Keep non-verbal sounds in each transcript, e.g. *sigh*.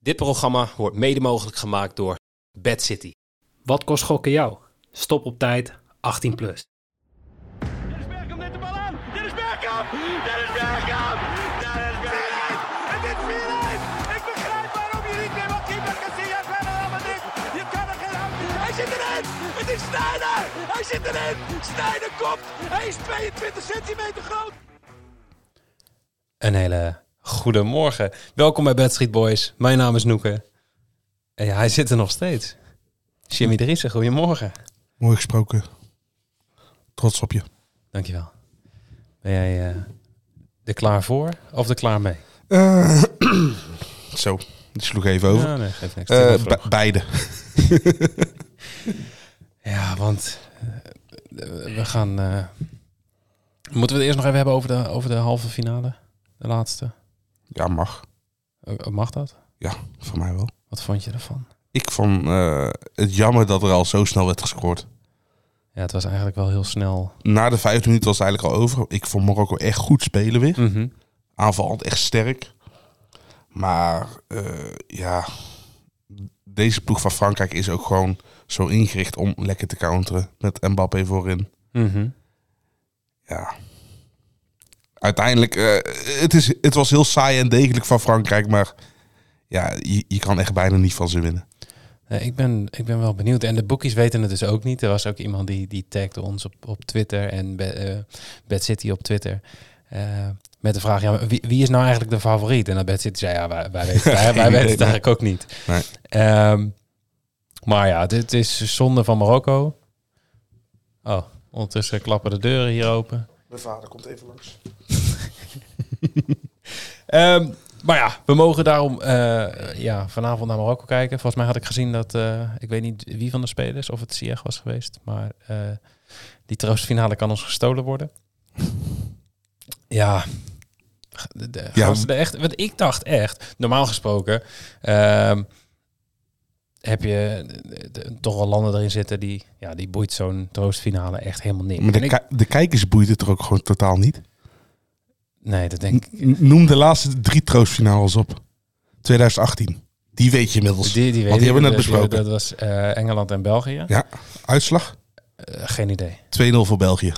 Dit programma wordt mede mogelijk gemaakt door Bad City. Wat kost gokken jou? Stop op tijd, 18 plus. Dennis Bergkamp neemt de bal aan. Dennis Bergkamp! Dennis Bergkamp! Dennis Bergkamp! Het is 4-1! Ik begrijp waarom je niet meer wat keeper Casillas verder allemaal dit. Je kan er geen hand Hij zit erin! Het is Sneijder! Hij zit erin! Sneijder komt! Hij is 22 centimeter groot! Een hele goede morgen. Welkom bij Bad Street Boys. Mijn naam is Noeke. En ja, hij zit er nog steeds. Jimmy Driessen, goedemorgen. Mooi gesproken. Trots op je. Dankjewel. Ben jij eh, er klaar voor of er klaar mee? Eh, *clears throat* zo, die sloeg even over. Ja, nee, geeft niks. Eh, Tuurlijk wel. be- beide. ja, want eh, we gaan... eh, moeten we het eerst nog even hebben over de, over de halve finale? De laatste? Ja, mag. Eh, Mag dat? Ja, voor mij wel. Wat vond je ervan? Ik vond eh, het jammer dat er al zo snel werd gescoord. Ja, het was eigenlijk wel heel snel. Na de vijfde minuut was het eigenlijk al over. Ik vond Marokko echt goed spelen weer. Mhm. Aanvallend echt sterk. Maar eh, ja, deze ploeg van Frankrijk is ook gewoon zo ingericht om lekker te counteren. Met Mbappé voorin. Mhm. ja. Uiteindelijk, eh, het, is, het was heel saai en degelijk van Frankrijk, maar ja, je, je kan echt bijna niet van ze winnen. Nee, Eh, ik, ben, ik ben wel benieuwd. En de boekies weten het dus ook niet. Er was ook iemand die, die tagde ons op, op Twitter en Be- eh, Bad City op Twitter. eh, met de vraag, ja, maar wie, wie is nou eigenlijk de favoriet? En dan Bad City zei, ja, wij, wij *laughs* weten, wij, wij Geen weten idee, het nee. eigenlijk ook niet. Nee. Ehm, maar ja, dit is zonde van Marokko. Oh, ondertussen klappen de deuren hier open. Mijn vader komt even langs. Ehm, maar ja, we mogen daarom eh, ja, vanavond naar Marokko kijken. Volgens mij had ik gezien dat, eh, ik weet niet wie van de spelers, of het Ziyech was geweest, maar eh, die troostfinale kan ons gestolen worden. ja. De, de- Ja. gaan ze er echt, want ik dacht echt, normaal gesproken, ehm, heb je eh, de- toch wel landen erin zitten die, ja, die boeit zo'n troostfinale echt helemaal niks. Maar de, En ik- ki- de kijkers boeit het er ook gewoon totaal niet. nee, dat denk ik. N- Noem de laatste drie troostfinales op. 2018. Die weet je inmiddels. Die, die, weet Want die ik, hebben we dat- net besproken. Dat was eh, Engeland en België. Ja, uitslag 2-0 Eh, geen idee. voor België.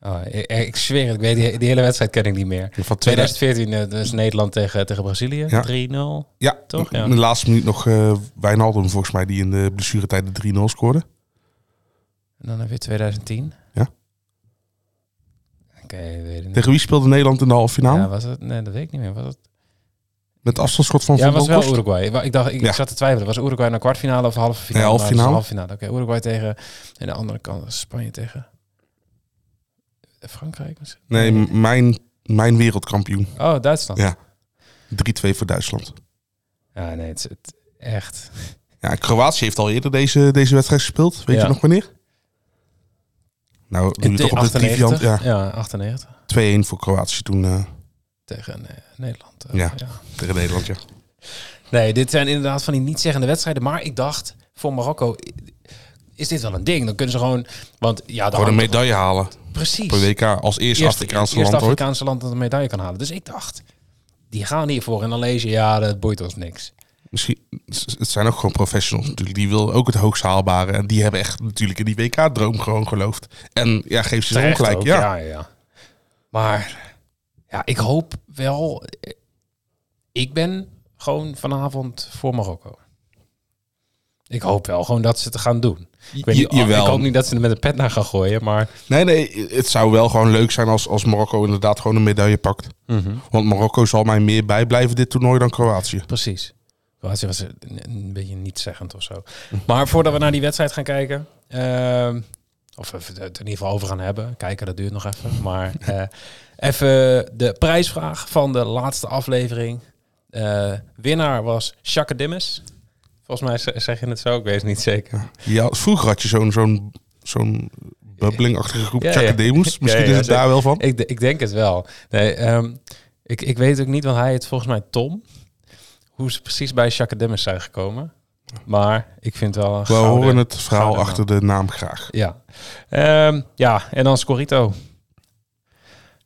Oh, ik, ik zweer het, ik weet die, die hele wedstrijd ken ik niet meer. Van 2000 2014 eh, dus Nederland tegen, tegen Brazilië. Ja. 3-0. ja, Toch, ja. in de laatste minuut nog eh Wijnaldum volgens mij die in de blessuretijd de 3-0 scoorde. En dan weer 2010. Ja. Oké, weet ik niet. Tegen wie speelde Nederland in de halve finale? ja, was het? Nee, dat weet ik niet meer. Was het? Met afstandsschot van Ja, Van het was wel Bronckhorst? Uruguay. Wa- Ik dacht, ik Ja. zat te twijfelen. Was Uruguay naar kwartfinale of halve finale? Nee, halve Maar het was finale. halve finale. Oké, Uruguay tegen. En de andere kant was Spanje tegen. Frankrijk misschien? Nee, m- mijn, mijn wereldkampioen. Oh, Duitsland. Ja. 3-2 voor Duitsland. Ja, nee, het is het, echt. Ja, Kroatië heeft al eerder deze, deze wedstrijd gespeeld. Weet Ja. je nog wanneer? Nou, doe je toch op de triviant. Ja, ja, 98. 2-1 voor Kroatië toen eh, tegen eh, Nederland. eh, Ja. tegen Nederland. Ja. Nee, dit zijn inderdaad van die niet-zeggende wedstrijden. Maar ik dacht, voor Marokko i- is dit wel een ding. Dan kunnen ze gewoon... Want ja, dan Gewoon een medaille halen precies. per WK als eerste Eerst- Afrikaanse eerst land ooit. Afrikaanse land dat een medaille kan halen. Dus ik dacht, die gaan hiervoor. En dan lees je, ja, dat boeit ons niks. Misschien, het zijn ook gewoon professionals natuurlijk. Die willen ook het hoogst haalbare. En die hebben echt natuurlijk in die WK-droom gewoon geloofd. En ja, geef ze Terecht ongelijk. ook, Ja. ja, ja. Maar ja, ik hoop wel... eh, Ik ben gewoon vanavond voor Marokko. Ik hoop wel gewoon dat ze het gaan doen. Ik, weet niet, oh, Je- jawel. ik hoop niet dat ze er met een pet naar gaan gooien, maar... Nee, nee, het zou wel gewoon leuk zijn als, als Marokko inderdaad gewoon een medaille pakt. Want Marokko zal mij meer bijblijven dit toernooi dan Kroatië. Precies. Kroatië was een, een beetje nietszeggend of zo. Mhm. Maar voordat we naar die wedstrijd gaan kijken, ehm, of we het er in ieder geval over gaan hebben, kijken dat duurt nog even. *laughs* Maar eh, even de prijsvraag van de laatste aflevering. Eh, winnaar was Jacques Dimmes. Volgens mij z- zeg je het zo, ik weet het niet zeker. Ja, vroeger had je zo'n zo'n zo'n bubbelingachtige groep Ja, ja. Chakademus. *laughs* Misschien Ja, ja, is het zeker. daar wel van. Ik, de- ik denk het wel. Nee, ehm, ik, ik weet ook niet, want hij heet volgens mij Tom. Hoe ze precies bij Jacques Dimmes zijn gekomen. Maar ik vind het wel een We gouden- horen het verhaal gouden achter de naam graag. Ja. Ehm, ja, en dan Scorito.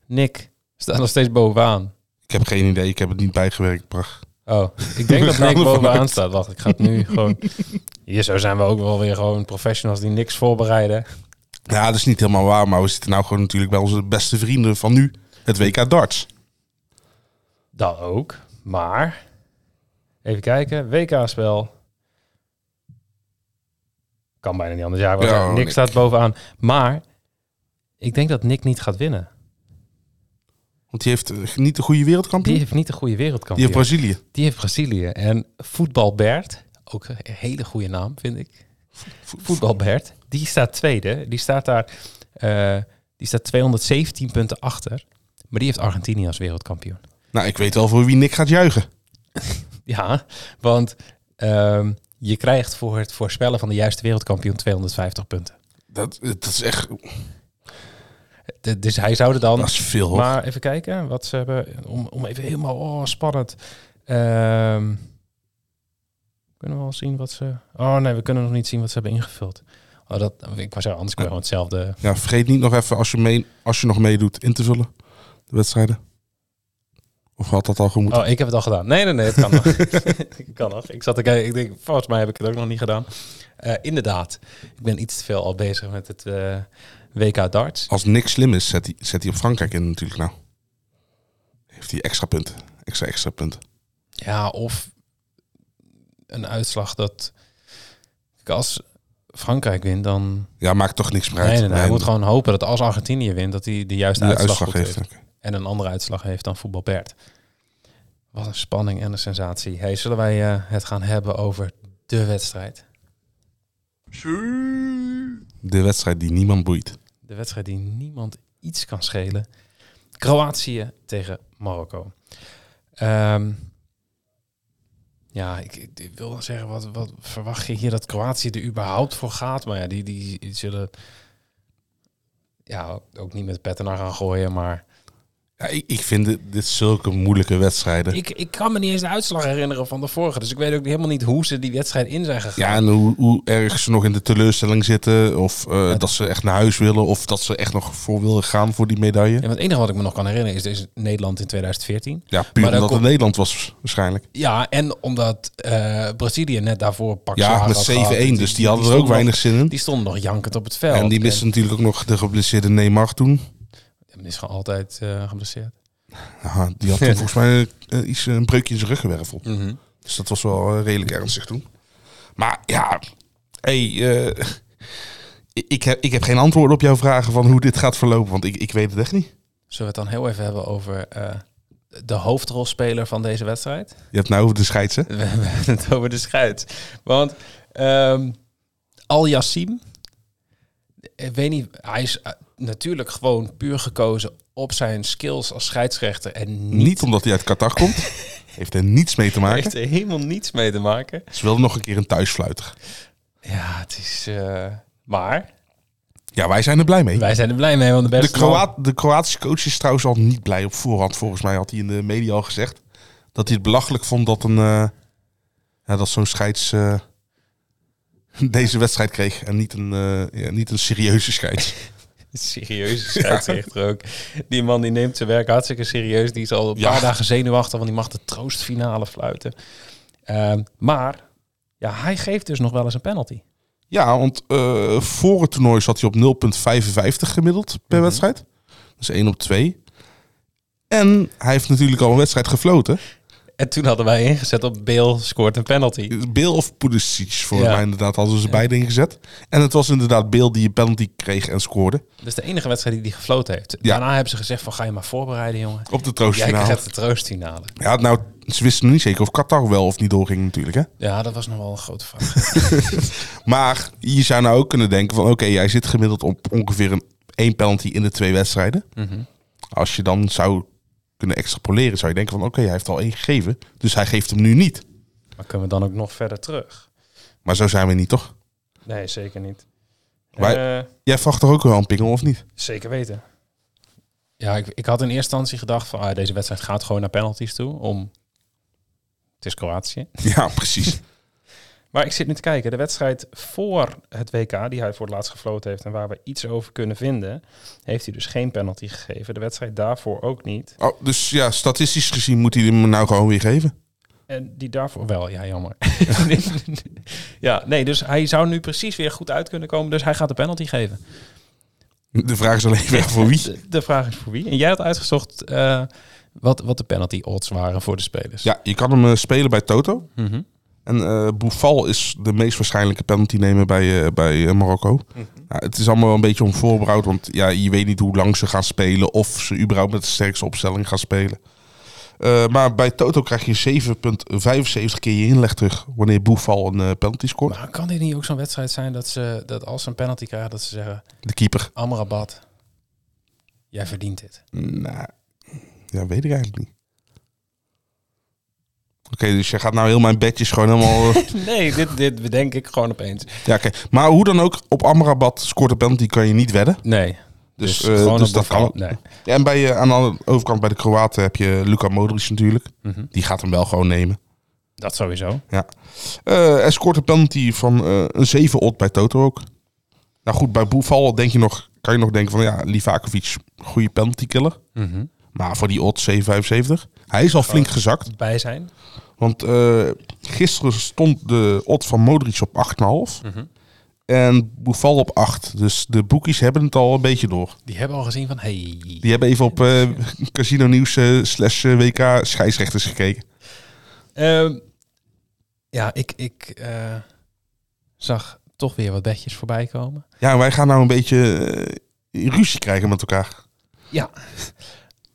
Nick staat nog steeds bovenaan. Ik heb geen idee, ik heb het niet bijgewerkt, Prach. Oké, Oh, ik denk *laughs* We dat gaan Nick ervan bovenaan uit. staat. Wacht, ik ga het nu *laughs* gewoon... Hier zo zijn we ook wel weer gewoon professionals die niks voorbereiden. Ja, dat is niet helemaal waar, maar we zitten nou gewoon natuurlijk bij onze beste vrienden van nu, het WK darts. Dat ook. Maar, even kijken. WK-spel. Kan bijna niet anders. Ja, Ja, niks Nick Nick. staat bovenaan. Maar, ik denk dat Nick niet gaat winnen. Want die heeft eh, niet de goede wereldkampioen. Die Die, heeft niet de goede wereldkampioen. heeft Brazilië. Die heeft Brazilië. En voetbalbert, ook een hele goede naam vind ik. Voetbalbert, die staat tweede. Die staat daar eh, die staat 217 punten achter. Maar die heeft Argentinië als wereldkampioen. Nou, ik weet wel voor wie Nick gaat juichen. Ja, want ehm, je krijgt voor het voorspellen van de juiste wereldkampioen 250 punten. Dat, dat is echt... D- dus hij zou er dan... Dat is veel, hoor. Maar even kijken wat ze hebben. Om, om even helemaal oh, spannend. Ehm, kunnen we al zien wat ze. Oh nee, we kunnen nog niet zien wat ze hebben ingevuld. Oh, dat, ik was anders kunnen we gewoon hetzelfde. Ja, vergeet niet nog even, als je, mee, als je nog meedoet, in te vullen de wedstrijden. Of had dat al gemoeten? Oh, ik heb het al gedaan. Nee, nee, nee, het kan nog. *laughs* Het kan nog. Ik zat te kijken. Ik denk, volgens mij heb ik het ook nog niet gedaan. Eh, inderdaad, ik ben iets te veel al bezig met het eh, WK darts. Als Nick slim is, zet hij zet hij op Frankrijk in natuurlijk nou. Heeft hij extra punten. Extra, extra punten. Ja, of een uitslag dat Kijk, als Frankrijk wint, dan Ja, maakt toch niks meer uit. Nee, nee, nee, hij moet gewoon hopen dat als Argentinië wint, dat hij de juiste de uitslag, uitslag goed heeft. heeft. En een andere uitslag heeft dan voetbal Bert. Wat een spanning en een sensatie. Hey, zullen wij eh, het gaan hebben over de wedstrijd? De wedstrijd die niemand boeit. De wedstrijd die niemand iets kan schelen. Kroatië tegen Marokko. Ehm, ja, ik, ik wil wel zeggen, wat, wat verwacht je hier dat Kroatië er überhaupt voor gaat? Maar ja, die, die, zullen ja, ook niet met petten naar gaan gooien, maar... Ja, ik, ik vind dit, dit zulke moeilijke wedstrijden. Ik, ik kan me niet eens de uitslag herinneren van de vorige. Dus ik weet ook helemaal niet hoe ze die wedstrijd in zijn gegaan. Ja, en hoe, hoe erg ze nog in de teleurstelling zitten. Of eh, dat ze echt naar huis willen. Of dat ze echt nog voor willen gaan voor die medaille. Ja, want het enige wat ik me nog kan herinneren is, is Nederland in 2014. Ja, puur Maar dan omdat het komt- Nederland was waarschijnlijk. Ja, en omdat eh, Brazilië net daarvoor pak Ja, slaag met had 7-1. gehad. Dus die hadden er stonden ook weinig nog- zin in. Die stonden nog jankend op het veld. En die misten natuurlijk ook nog de geblesseerde Neymar toen. En, die is gewoon altijd eh, geblesseerd. Ja, die *laughs* had toen volgens mij eh, iets, een breukje in zijn ruggenwervel. Mhm. Dus dat was wel eh, redelijk ernstig toen. Maar ja, hey, eh, ik, ik heb, ik heb geen antwoord op jouw vragen van hoe dit gaat verlopen. Want ik, ik weet het echt niet. Zullen we het dan heel even hebben over eh, de hoofdrolspeler van deze wedstrijd? Je hebt nou over de scheidsen. We hebben *laughs* het over de schuit. Want ehm Al Yassim, ik weet niet, hij is eh, natuurlijk gewoon puur gekozen op zijn skills als scheidsrechter en niet, Eh, Niet. omdat hij uit Qatar *laughs* komt. heeft er niets mee te maken. heeft er helemaal niets mee te maken. Ze wilden nog een keer een thuisfluiter. Ja, het is. eh, maar Ja, wij zijn er blij mee. wij zijn er blij mee, want de De, beste man- *laughs* Kroaat, de Kroatische coach is trouwens al niet blij op voorhand. Volgens mij had hij in de media al gezegd dat hij het belachelijk vond dat, een, eh, ja, dat zo'n scheids eh, *laughs* deze wedstrijd kreeg. En niet een, eh, ja, niet een serieuze scheids. serieuze scheidsrechter ook. Die man die neemt zijn werk hartstikke serieus. Die is al een Ja. paar dagen zenuwachtig, want die mag de troostfinale fluiten. Ehm, maar ja, hij geeft dus nog wel eens een penalty. ja, want eh, voor het toernooi zat hij op 0,55 gemiddeld per Mhm. wedstrijd. Dus 1 op 2. En hij heeft natuurlijk al een wedstrijd gefloten. En toen hadden wij ingezet op Bale scoort een penalty. Beel of Pulisic, volgens Ja. mij inderdaad, hadden ze beide ingezet. En het was inderdaad Beel die een penalty kreeg en scoorde. Dus de enige wedstrijd die die gefloten heeft. Ja. Daarna hebben ze gezegd van ga je maar voorbereiden jongen. Op de Jij troostfinale. krijgt de troostfinale. Ja, nou, ze wisten nog niet zeker of Qatar wel of niet doorging natuurlijk, hè. Ja, dat was nog wel een grote vraag. Maar je zou nou ook kunnen denken van... oké, jij zit gemiddeld op ongeveer een, één penalty in de twee wedstrijden. Als je dan zou kunnen extrapoleren, zou je denken van... oké, hij heeft al één gegeven, dus hij geeft hem nu niet. maar kunnen we dan ook nog verder terug? Maar zo zijn we niet, toch? Nee, zeker niet. Wij- Eh, Jij vraagt toch ook wel een pingel, of niet? zeker weten. Ja, ik, ik had in eerste instantie gedacht van ah, deze wedstrijd gaat gewoon naar penalties toe. Om... Het is Kroatië. *laughs* *laughs* Ja, precies. Maar ik zit nu te kijken. De wedstrijd voor het WK, die hij voor het laatst gefloten heeft en waar we iets over kunnen vinden, heeft hij dus geen penalty gegeven. De wedstrijd daarvoor ook niet. Oh, dus ja, statistisch gezien moet hij hem nou gewoon weer geven. En die daarvoor wel, ja, jammer. *laughs* ja, nee, dus hij zou nu precies weer goed uit kunnen komen. Dus hij gaat de penalty geven. De vraag is alleen weer voor wie. De, de vraag is voor wie. En jij had uitgezocht eh, wat, wat de penalty odds waren voor de spelers. Ja, je kan hem eh, spelen bij Toto. Mhm. En eh Boufal is de meest waarschijnlijke penalty nemen bij, eh, bij eh, Marokko. Nou, het is allemaal wel een beetje onvoorbereid, want ja, je weet niet hoe lang ze gaan spelen of ze überhaupt met de sterkste opstelling gaan spelen. Eh, maar bij Toto krijg je 7,75 keer je inleg terug wanneer Boefal een eh, penalty scoort. Maar kan dit niet ook zo'n wedstrijd zijn dat, ze, dat als ze een penalty krijgen, dat ze zeggen... De keeper. Amrabat, jij verdient dit. Nou, ja, weet ik eigenlijk niet. Oké, dus je gaat nou heel mijn bedjes gewoon helemaal... eh, *laughs* Nee, dit, dit bedenk ik gewoon opeens. ja, oké. Maar hoe dan ook, op Amrabat scoort de penalty kan je niet wedden. Nee. Dus, eh, dus op dat kan. Boufal. Nee. Ja, en bij, eh, aan de overkant bij de Kroaten heb je Luka Modric natuurlijk. Mhm. Die gaat hem wel gewoon nemen. Dat sowieso. Eh hij scoort een penalty van eh, een 7 odd bij Toto ook. Nou goed, bij Boeval denk je nog, kan je nog denken van ja, Livakovic, goede penalty killer. Maar voor die odd 7,75. Hij is al flink gezakt. Bij zijn. Want eh, gisteren stond de odd van Modric op 8,5. En Boeval op 8. Dus de boekies hebben het al een beetje door. Die hebben al gezien van, hey, Die hebben even op eh, Casino Nieuws eh, slash eh, WK scheidsrechters gekeken. Ehm, ja, ik, ik eh, zag toch weer wat bedjes voorbij komen. Ja, en wij gaan nou een beetje eh, ruzie krijgen met elkaar. Ja.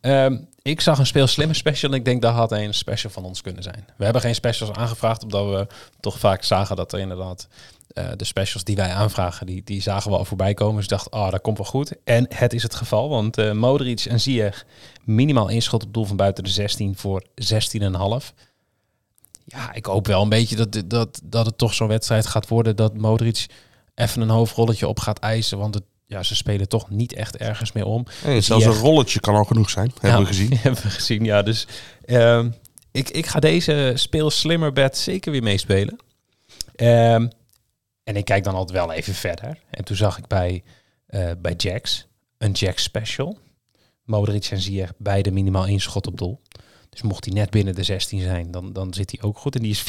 Ehm, ik zag een speel slimme special en ik denk dat had een special van ons kunnen zijn. We hebben geen specials aangevraagd, omdat we toch vaak zagen dat er inderdaad eh, de specials die wij aanvragen, die, die zagen we al voorbij komen. Dus ik dacht, ah, dat komt wel goed. En het is het geval, want eh, Modric en Ziyech minimaal één schot op doel van buiten de 16 voor 16,5. Ja, ik hoop wel een beetje dat, dat, dat het toch zo'n wedstrijd gaat worden dat Modric even een hoofdrolletje op gaat eisen. Want het, ja, ze spelen toch niet echt ergens meer om. Zelfs Ziyech- een rolletje kan al genoeg zijn, hebben *laughs* we ja, gezien. hebben we gezien, ja. Dus ehm, ik, ik ga deze speel slimmer bed zeker weer meespelen. Ehm, en ik kijk dan altijd wel even verder. En toen zag ik bij, eh, bij Jax een Jax special. Modric en Ziyech beide minimaal één schot op doel. Dus mocht hij net binnen de 16 zijn, dan, dan zit hij ook goed. En die is 4,5.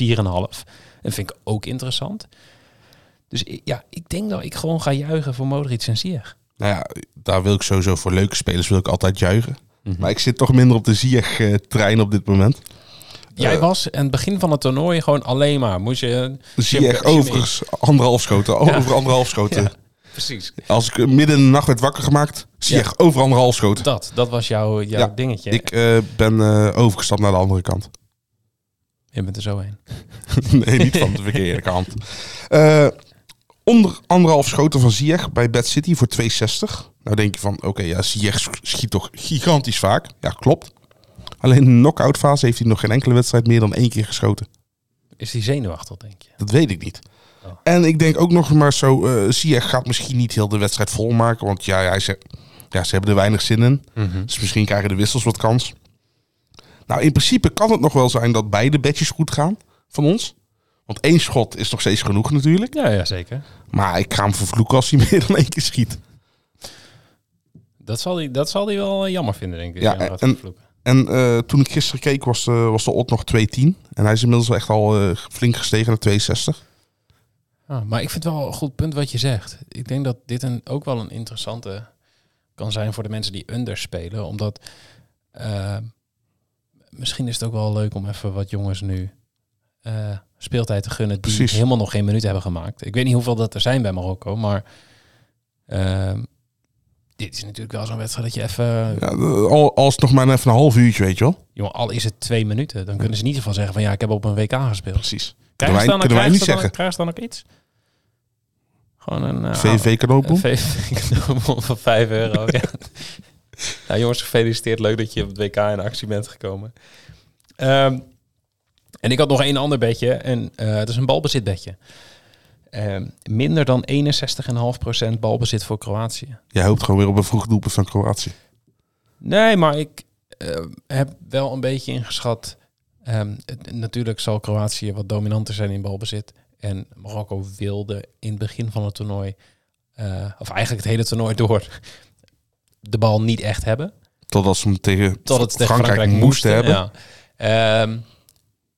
Dat vind ik ook interessant. Dus ik- ja, ik denk dat ik gewoon ga juichen voor Modric en Ziyech. Nou ja, daar wil ik sowieso voor leuke spelers wil ik altijd juichen. Hm. Maar ik zit toch minder op de Ziyech-trein op dit moment. Jij Eh, was aan het begin van het toernooi gewoon alleen maar. Moest je. Ziyech overigens anderhalf schoten, over anderhalf schoten. Ja, precies. Als ik eh, midden in de nacht werd wakker gemaakt, Ziyech over anderhalf schoten. Dat, dat was jouw, jouw Ja, dingetje. Ik eh, ben eh, overgestapt naar de andere kant. Je bent er zo heen. *laughs* nee, niet van de verkeerde kant. Eh, onder anderhalf schoten van Ziyech bij Bad City voor 2,60. Nou denk je van, oké, ja, Ziyech schiet toch gigantisch vaak. Ja, klopt. Alleen in de knock-out fase heeft hij nog geen enkele wedstrijd meer dan één keer geschoten. Is die zenuwachtig, denk je? Dat weet ik niet. Oh. En ik denk ook nog maar zo, eh Ziyech gaat misschien niet heel de wedstrijd volmaken. Want ja, hij ze, ja, ze hebben er weinig zin in. Dus misschien krijgen de wissels wat kans. Nou, in principe kan het nog wel zijn dat beide bedjes goed gaan van ons. Want één schot is nog steeds genoeg natuurlijk. Ja, ja, zeker. Maar ik ga hem vervloeken als hij *laughs* meer dan één keer schiet. Dat zal hij dat zal die wel eh, jammer vinden, denk ik. Ja, Ja, en, en- En eh, toen ik gisteren keek was de, was de odd nog 2,10. En hij is inmiddels wel echt al eh, flink gestegen naar 62. Ah, maar ik vind het wel een goed punt wat je zegt. Ik denk dat dit een, ook wel een interessante kan zijn voor de mensen die under spelen. Omdat eh, misschien is het ook wel leuk om even wat jongens nu eh, speeltijd te gunnen die Precies. helemaal nog geen minuut hebben gemaakt. Ik weet niet hoeveel dat er zijn bij Marokko, maar eh, dit is natuurlijk wel zo'n wedstrijd dat je even... Ja, eh, al, als het nog maar even een half uurtje, weet je wel. Jongen, al is het twee minuten, dan kunnen ze niet ieder geval zeggen van ja, ik heb op een WK gespeeld. Precies. Krijgen Kunnen wij, ze dan- kunnen wij krijgen niet ze dan- zeggen. Krijgen ze dan ook iets? Gewoon een... eh, VV *laughs* Een Knoopboom? VV-knoophol van 5 euro. ja. Nou jongens, gefeliciteerd. Leuk dat je op het WK in actie bent gekomen. Ehm, en ik had nog één ander bedje. En eh, het is een balbezitbedje. Ehm, minder dan 61,5% balbezit voor Kroatië. Jij hoopt gewoon weer op een vroeg doelpunt van Kroatië. Nee, maar ik eh, heb wel een beetje ingeschat. ehm, het- natuurlijk zal Kroatië wat dominanter zijn in balbezit. En Marokko wilde in het begin van het toernooi, eh, of eigenlijk het hele toernooi door, *laughs* de bal niet echt hebben. Totdat ze hem tegen Tot het tegen Frankrijk, moesten hebben. ja. Ehm,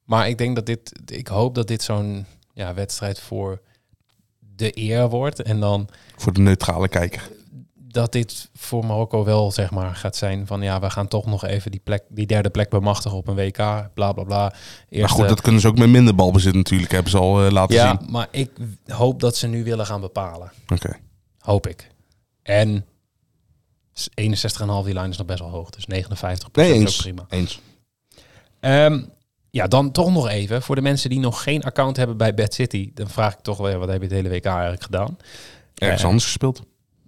Maar ik denk dat dit, ik hoop dat dit zo'n ja, wedstrijd voor de eer wordt. En dan Voor de neutrale kijker. dat dit voor Marokko wel zeg maar gaat zijn van ja, we gaan toch nog even die, plek, die derde plek bemachtigen op een WK, bla bla bla. Maar Eerste- Nou goed, dat kunnen ze ook met minder balbezit natuurlijk, hebben ze al eh, laten ja, zien. maar ik hoop dat ze nu willen gaan bepalen. Oké. Hoop ik. En s- 61,5 die lijn is nog best wel hoog, dus 59 Nee, is ook eens. prima. eens. Ehm, ja, dan toch nog even voor de mensen die nog geen account hebben bij Bad City, dan vraag ik toch wel, ja, wat heb je het hele WK eigenlijk gedaan? Ergens Eh. anders gespeeld.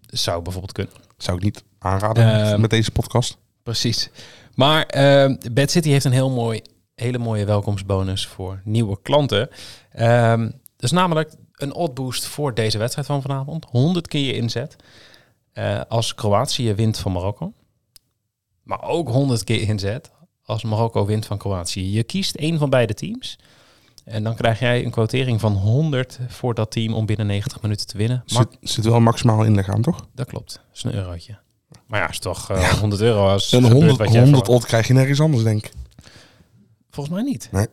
Zou bijvoorbeeld kunnen. Zou ik niet aanraden Eh. met deze podcast. Precies. Maar ehm Bad City heeft een heel mooi, hele mooie welkomstbonus voor nieuwe klanten. Ehm dus namelijk een odd boost voor deze wedstrijd van vanavond. 100 keer je inzet. eh, als Kroatië wint van Marokko. Maar ook 100 keer inzet als Marokko wint van Kroatië. Je kiest één van beide teams. En dan krijg jij een quotering van 100 voor dat team om binnen 90 minuten te winnen. Maar Zit, zit wel een maximaal inleg aan, toch? dat klopt. Dat is een eurotje. Maar ja, is toch eh, 100 euro als Een gebeurt 100, wat jij 100 verwacht. odd krijg je nergens anders, denk ik. Volgens mij niet. Nee.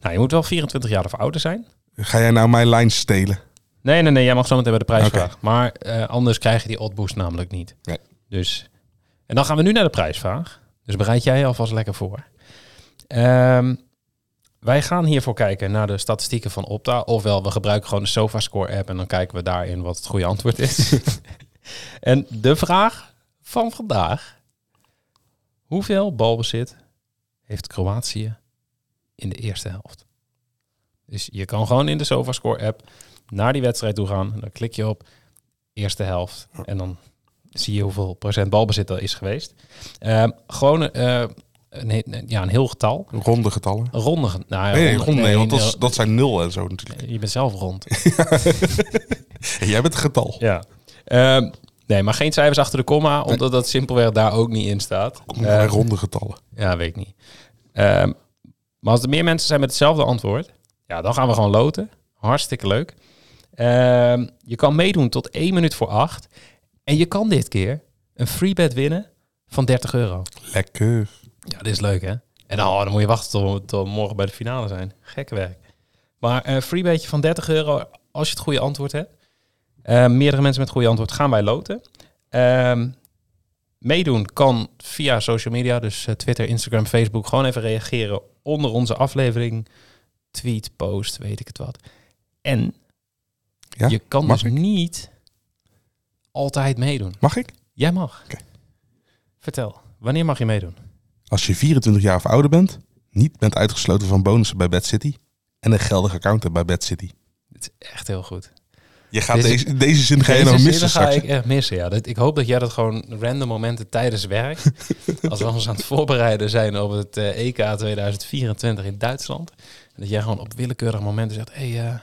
Nou, je moet wel 24 jaar of ouder zijn. Ga jij nou mijn lijn stelen? Nee, nee, nee. Jij mag zo meteen bij de prijs Oké. vragen. Maar eh, anders krijg je die oddboost namelijk niet. Nee. Dus, en dan gaan we nu naar de prijsvraag. Dus bereid jij je alvast lekker voor. Ehm, wij gaan hiervoor kijken naar de statistieken van Opta. Ofwel, we gebruiken gewoon de SofaScore app en dan kijken we daarin wat het goede antwoord is. *laughs* en de vraag van vandaag. Hoeveel balbezit heeft Kroatië in de eerste helft? Dus je kan gewoon in de SofaScore app naar die wedstrijd toe gaan. En dan klik je op eerste helft. En dan zie je hoeveel procent balbezit er is geweest. Ehm, gewoon eh, een, he- ja, een heel getal. Ronde getallen. Een Ronde. ge- Nou, ja, Nee, nee, ronde- ronde, nee, want dat, nee, is- dat zijn nul en zo natuurlijk. Je bent zelf rond. Jij bent het getal. ja. Ehm, nee, maar geen cijfers achter de komma, omdat dat simpelweg daar ook niet in staat. Kom maar bij Ehm, ronde getallen. Ja, weet ik niet. Ehm, maar als er meer mensen zijn met hetzelfde antwoord, ja, dan gaan we gewoon loten. Hartstikke leuk. Ehm, je kan meedoen tot 1 minuut voor 8. En je kan dit keer een free bet winnen van 30 euro. Lekker. Ja, dit is leuk hè. En dan, oh, dan moet je wachten tot, tot morgen bij de finale zijn. Gekke werk. Maar een free betje van 30 euro als je het goede antwoord hebt. Eh, meerdere mensen met het goede antwoord gaan wij loten. Ehm, meedoen kan via social media, dus eh, Twitter, Instagram, Facebook. Gewoon even reageren onder onze aflevering. Tweet, post, weet ik het wat. En Ja, je kan mag dus niet altijd meedoen. Mag ik? Jij mag. Oké. Vertel, wanneer mag je meedoen? Als je 24 jaar of ouder bent, niet bent uitgesloten van bonussen bij Bad City en een geldig account hebt bij Bad City. Dit is echt heel goed. Je gaat Deze- deze, deze, zin ga je Deze nou zinnen missen ga straks. ik echt missen, ja. Dat, ik hoop dat jij dat gewoon random momenten tijdens werk... als we ons aan het voorbereiden zijn op het eh, EK 2024 in Duitsland... dat jij gewoon op willekeurige momenten zegt... hé, hey, eh,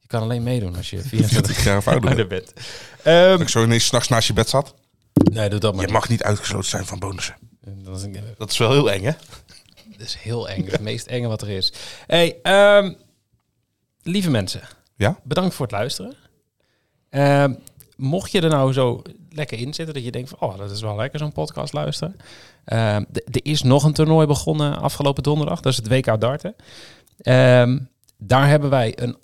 je kan alleen meedoen als je 24 24 jaar of ouder jaar bent. bent. Ehm, Dat ik zo ineens s'nachts naast je bed zat. nee, doe dat maar Je mag niet uitgesloten zijn van bonussen. niet. Dat is, Dat is wel heel eng, hè? dat is heel eng. Het meest enge wat er is. hey, ehm, lieve mensen. Ja? Bedankt voor het luisteren. Ehm, mocht je er nou zo lekker in zitten dat je denkt van... oh, dat is wel lekker zo'n podcast luisteren. Ehm, d- er is nog een toernooi begonnen afgelopen donderdag. Dat is het WK darten. Ehm, daar hebben wij een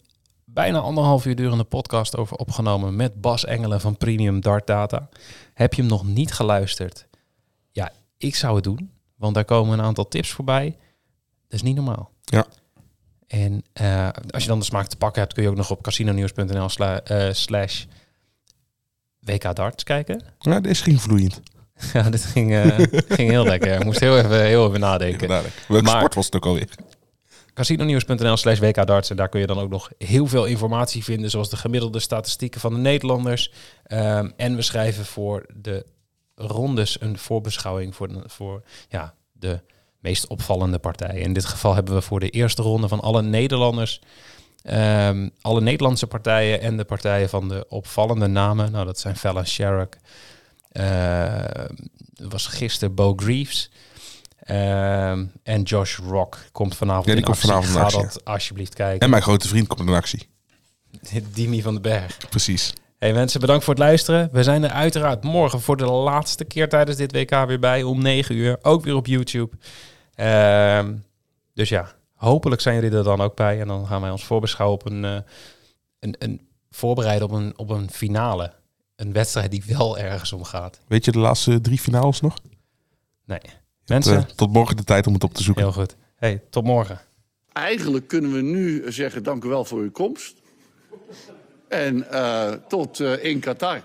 bijna anderhalf uur durende podcast over opgenomen... met Bas Engelen van Premium Dart Data. Heb je hem nog niet geluisterd? Ja, ik zou het doen. Want daar komen een aantal tips voorbij. Dat is niet normaal. Ja. En eh, als je dan de smaak te pakken hebt, kun je ook nog op casinonews.nl sla- eh, slash WK darts kijken. *laughs* Ja, deze ging vloeiend. Ja, dit ging, eh, ging heel lekker. Ik moest heel even, heel even nadenken. Dadelijk. Welke Maar- sport was het ook alweer? Casinonews.nl slash WKdarts. En daar kun je dan ook nog heel veel informatie vinden. Zoals de gemiddelde statistieken van de Nederlanders. Ehm, en we schrijven voor de rondes een voorbeschouwing voor, de, voor ja, de meest opvallende partijen. In dit geval hebben we voor de eerste ronde van alle Nederlanders. ehm, alle Nederlandse partijen en de partijen van de opvallende namen. Nou, dat zijn Fallon Sherrock. eh, was gisteren Bo Greaves. ehm, en Josh Rock komt vanavond Ja, die in komt actie. vanavond in Ga actie, ja. dat alsjeblieft kijken. En mijn grote vriend komt in actie. *laughs* Dimi van den Berg. Precies. Hey mensen, bedankt voor het luisteren. We zijn er uiteraard morgen voor de laatste keer tijdens dit WK weer bij om 9 uur. Ook weer op YouTube. Ehm, Dus ja, hopelijk zijn jullie er dan ook bij. En dan gaan wij ons voorbeschouwen op een, eh, een, een voorbereiden op een, op een finale. Een wedstrijd die wel ergens om gaat. Weet je de laatste drie finales nog? Nee. Mensen, Eh, tot morgen de tijd om het op te zoeken. heel goed. Hey, tot morgen. Eigenlijk kunnen we nu zeggen: dank u wel voor uw komst. En eh, tot eh, in Qatar.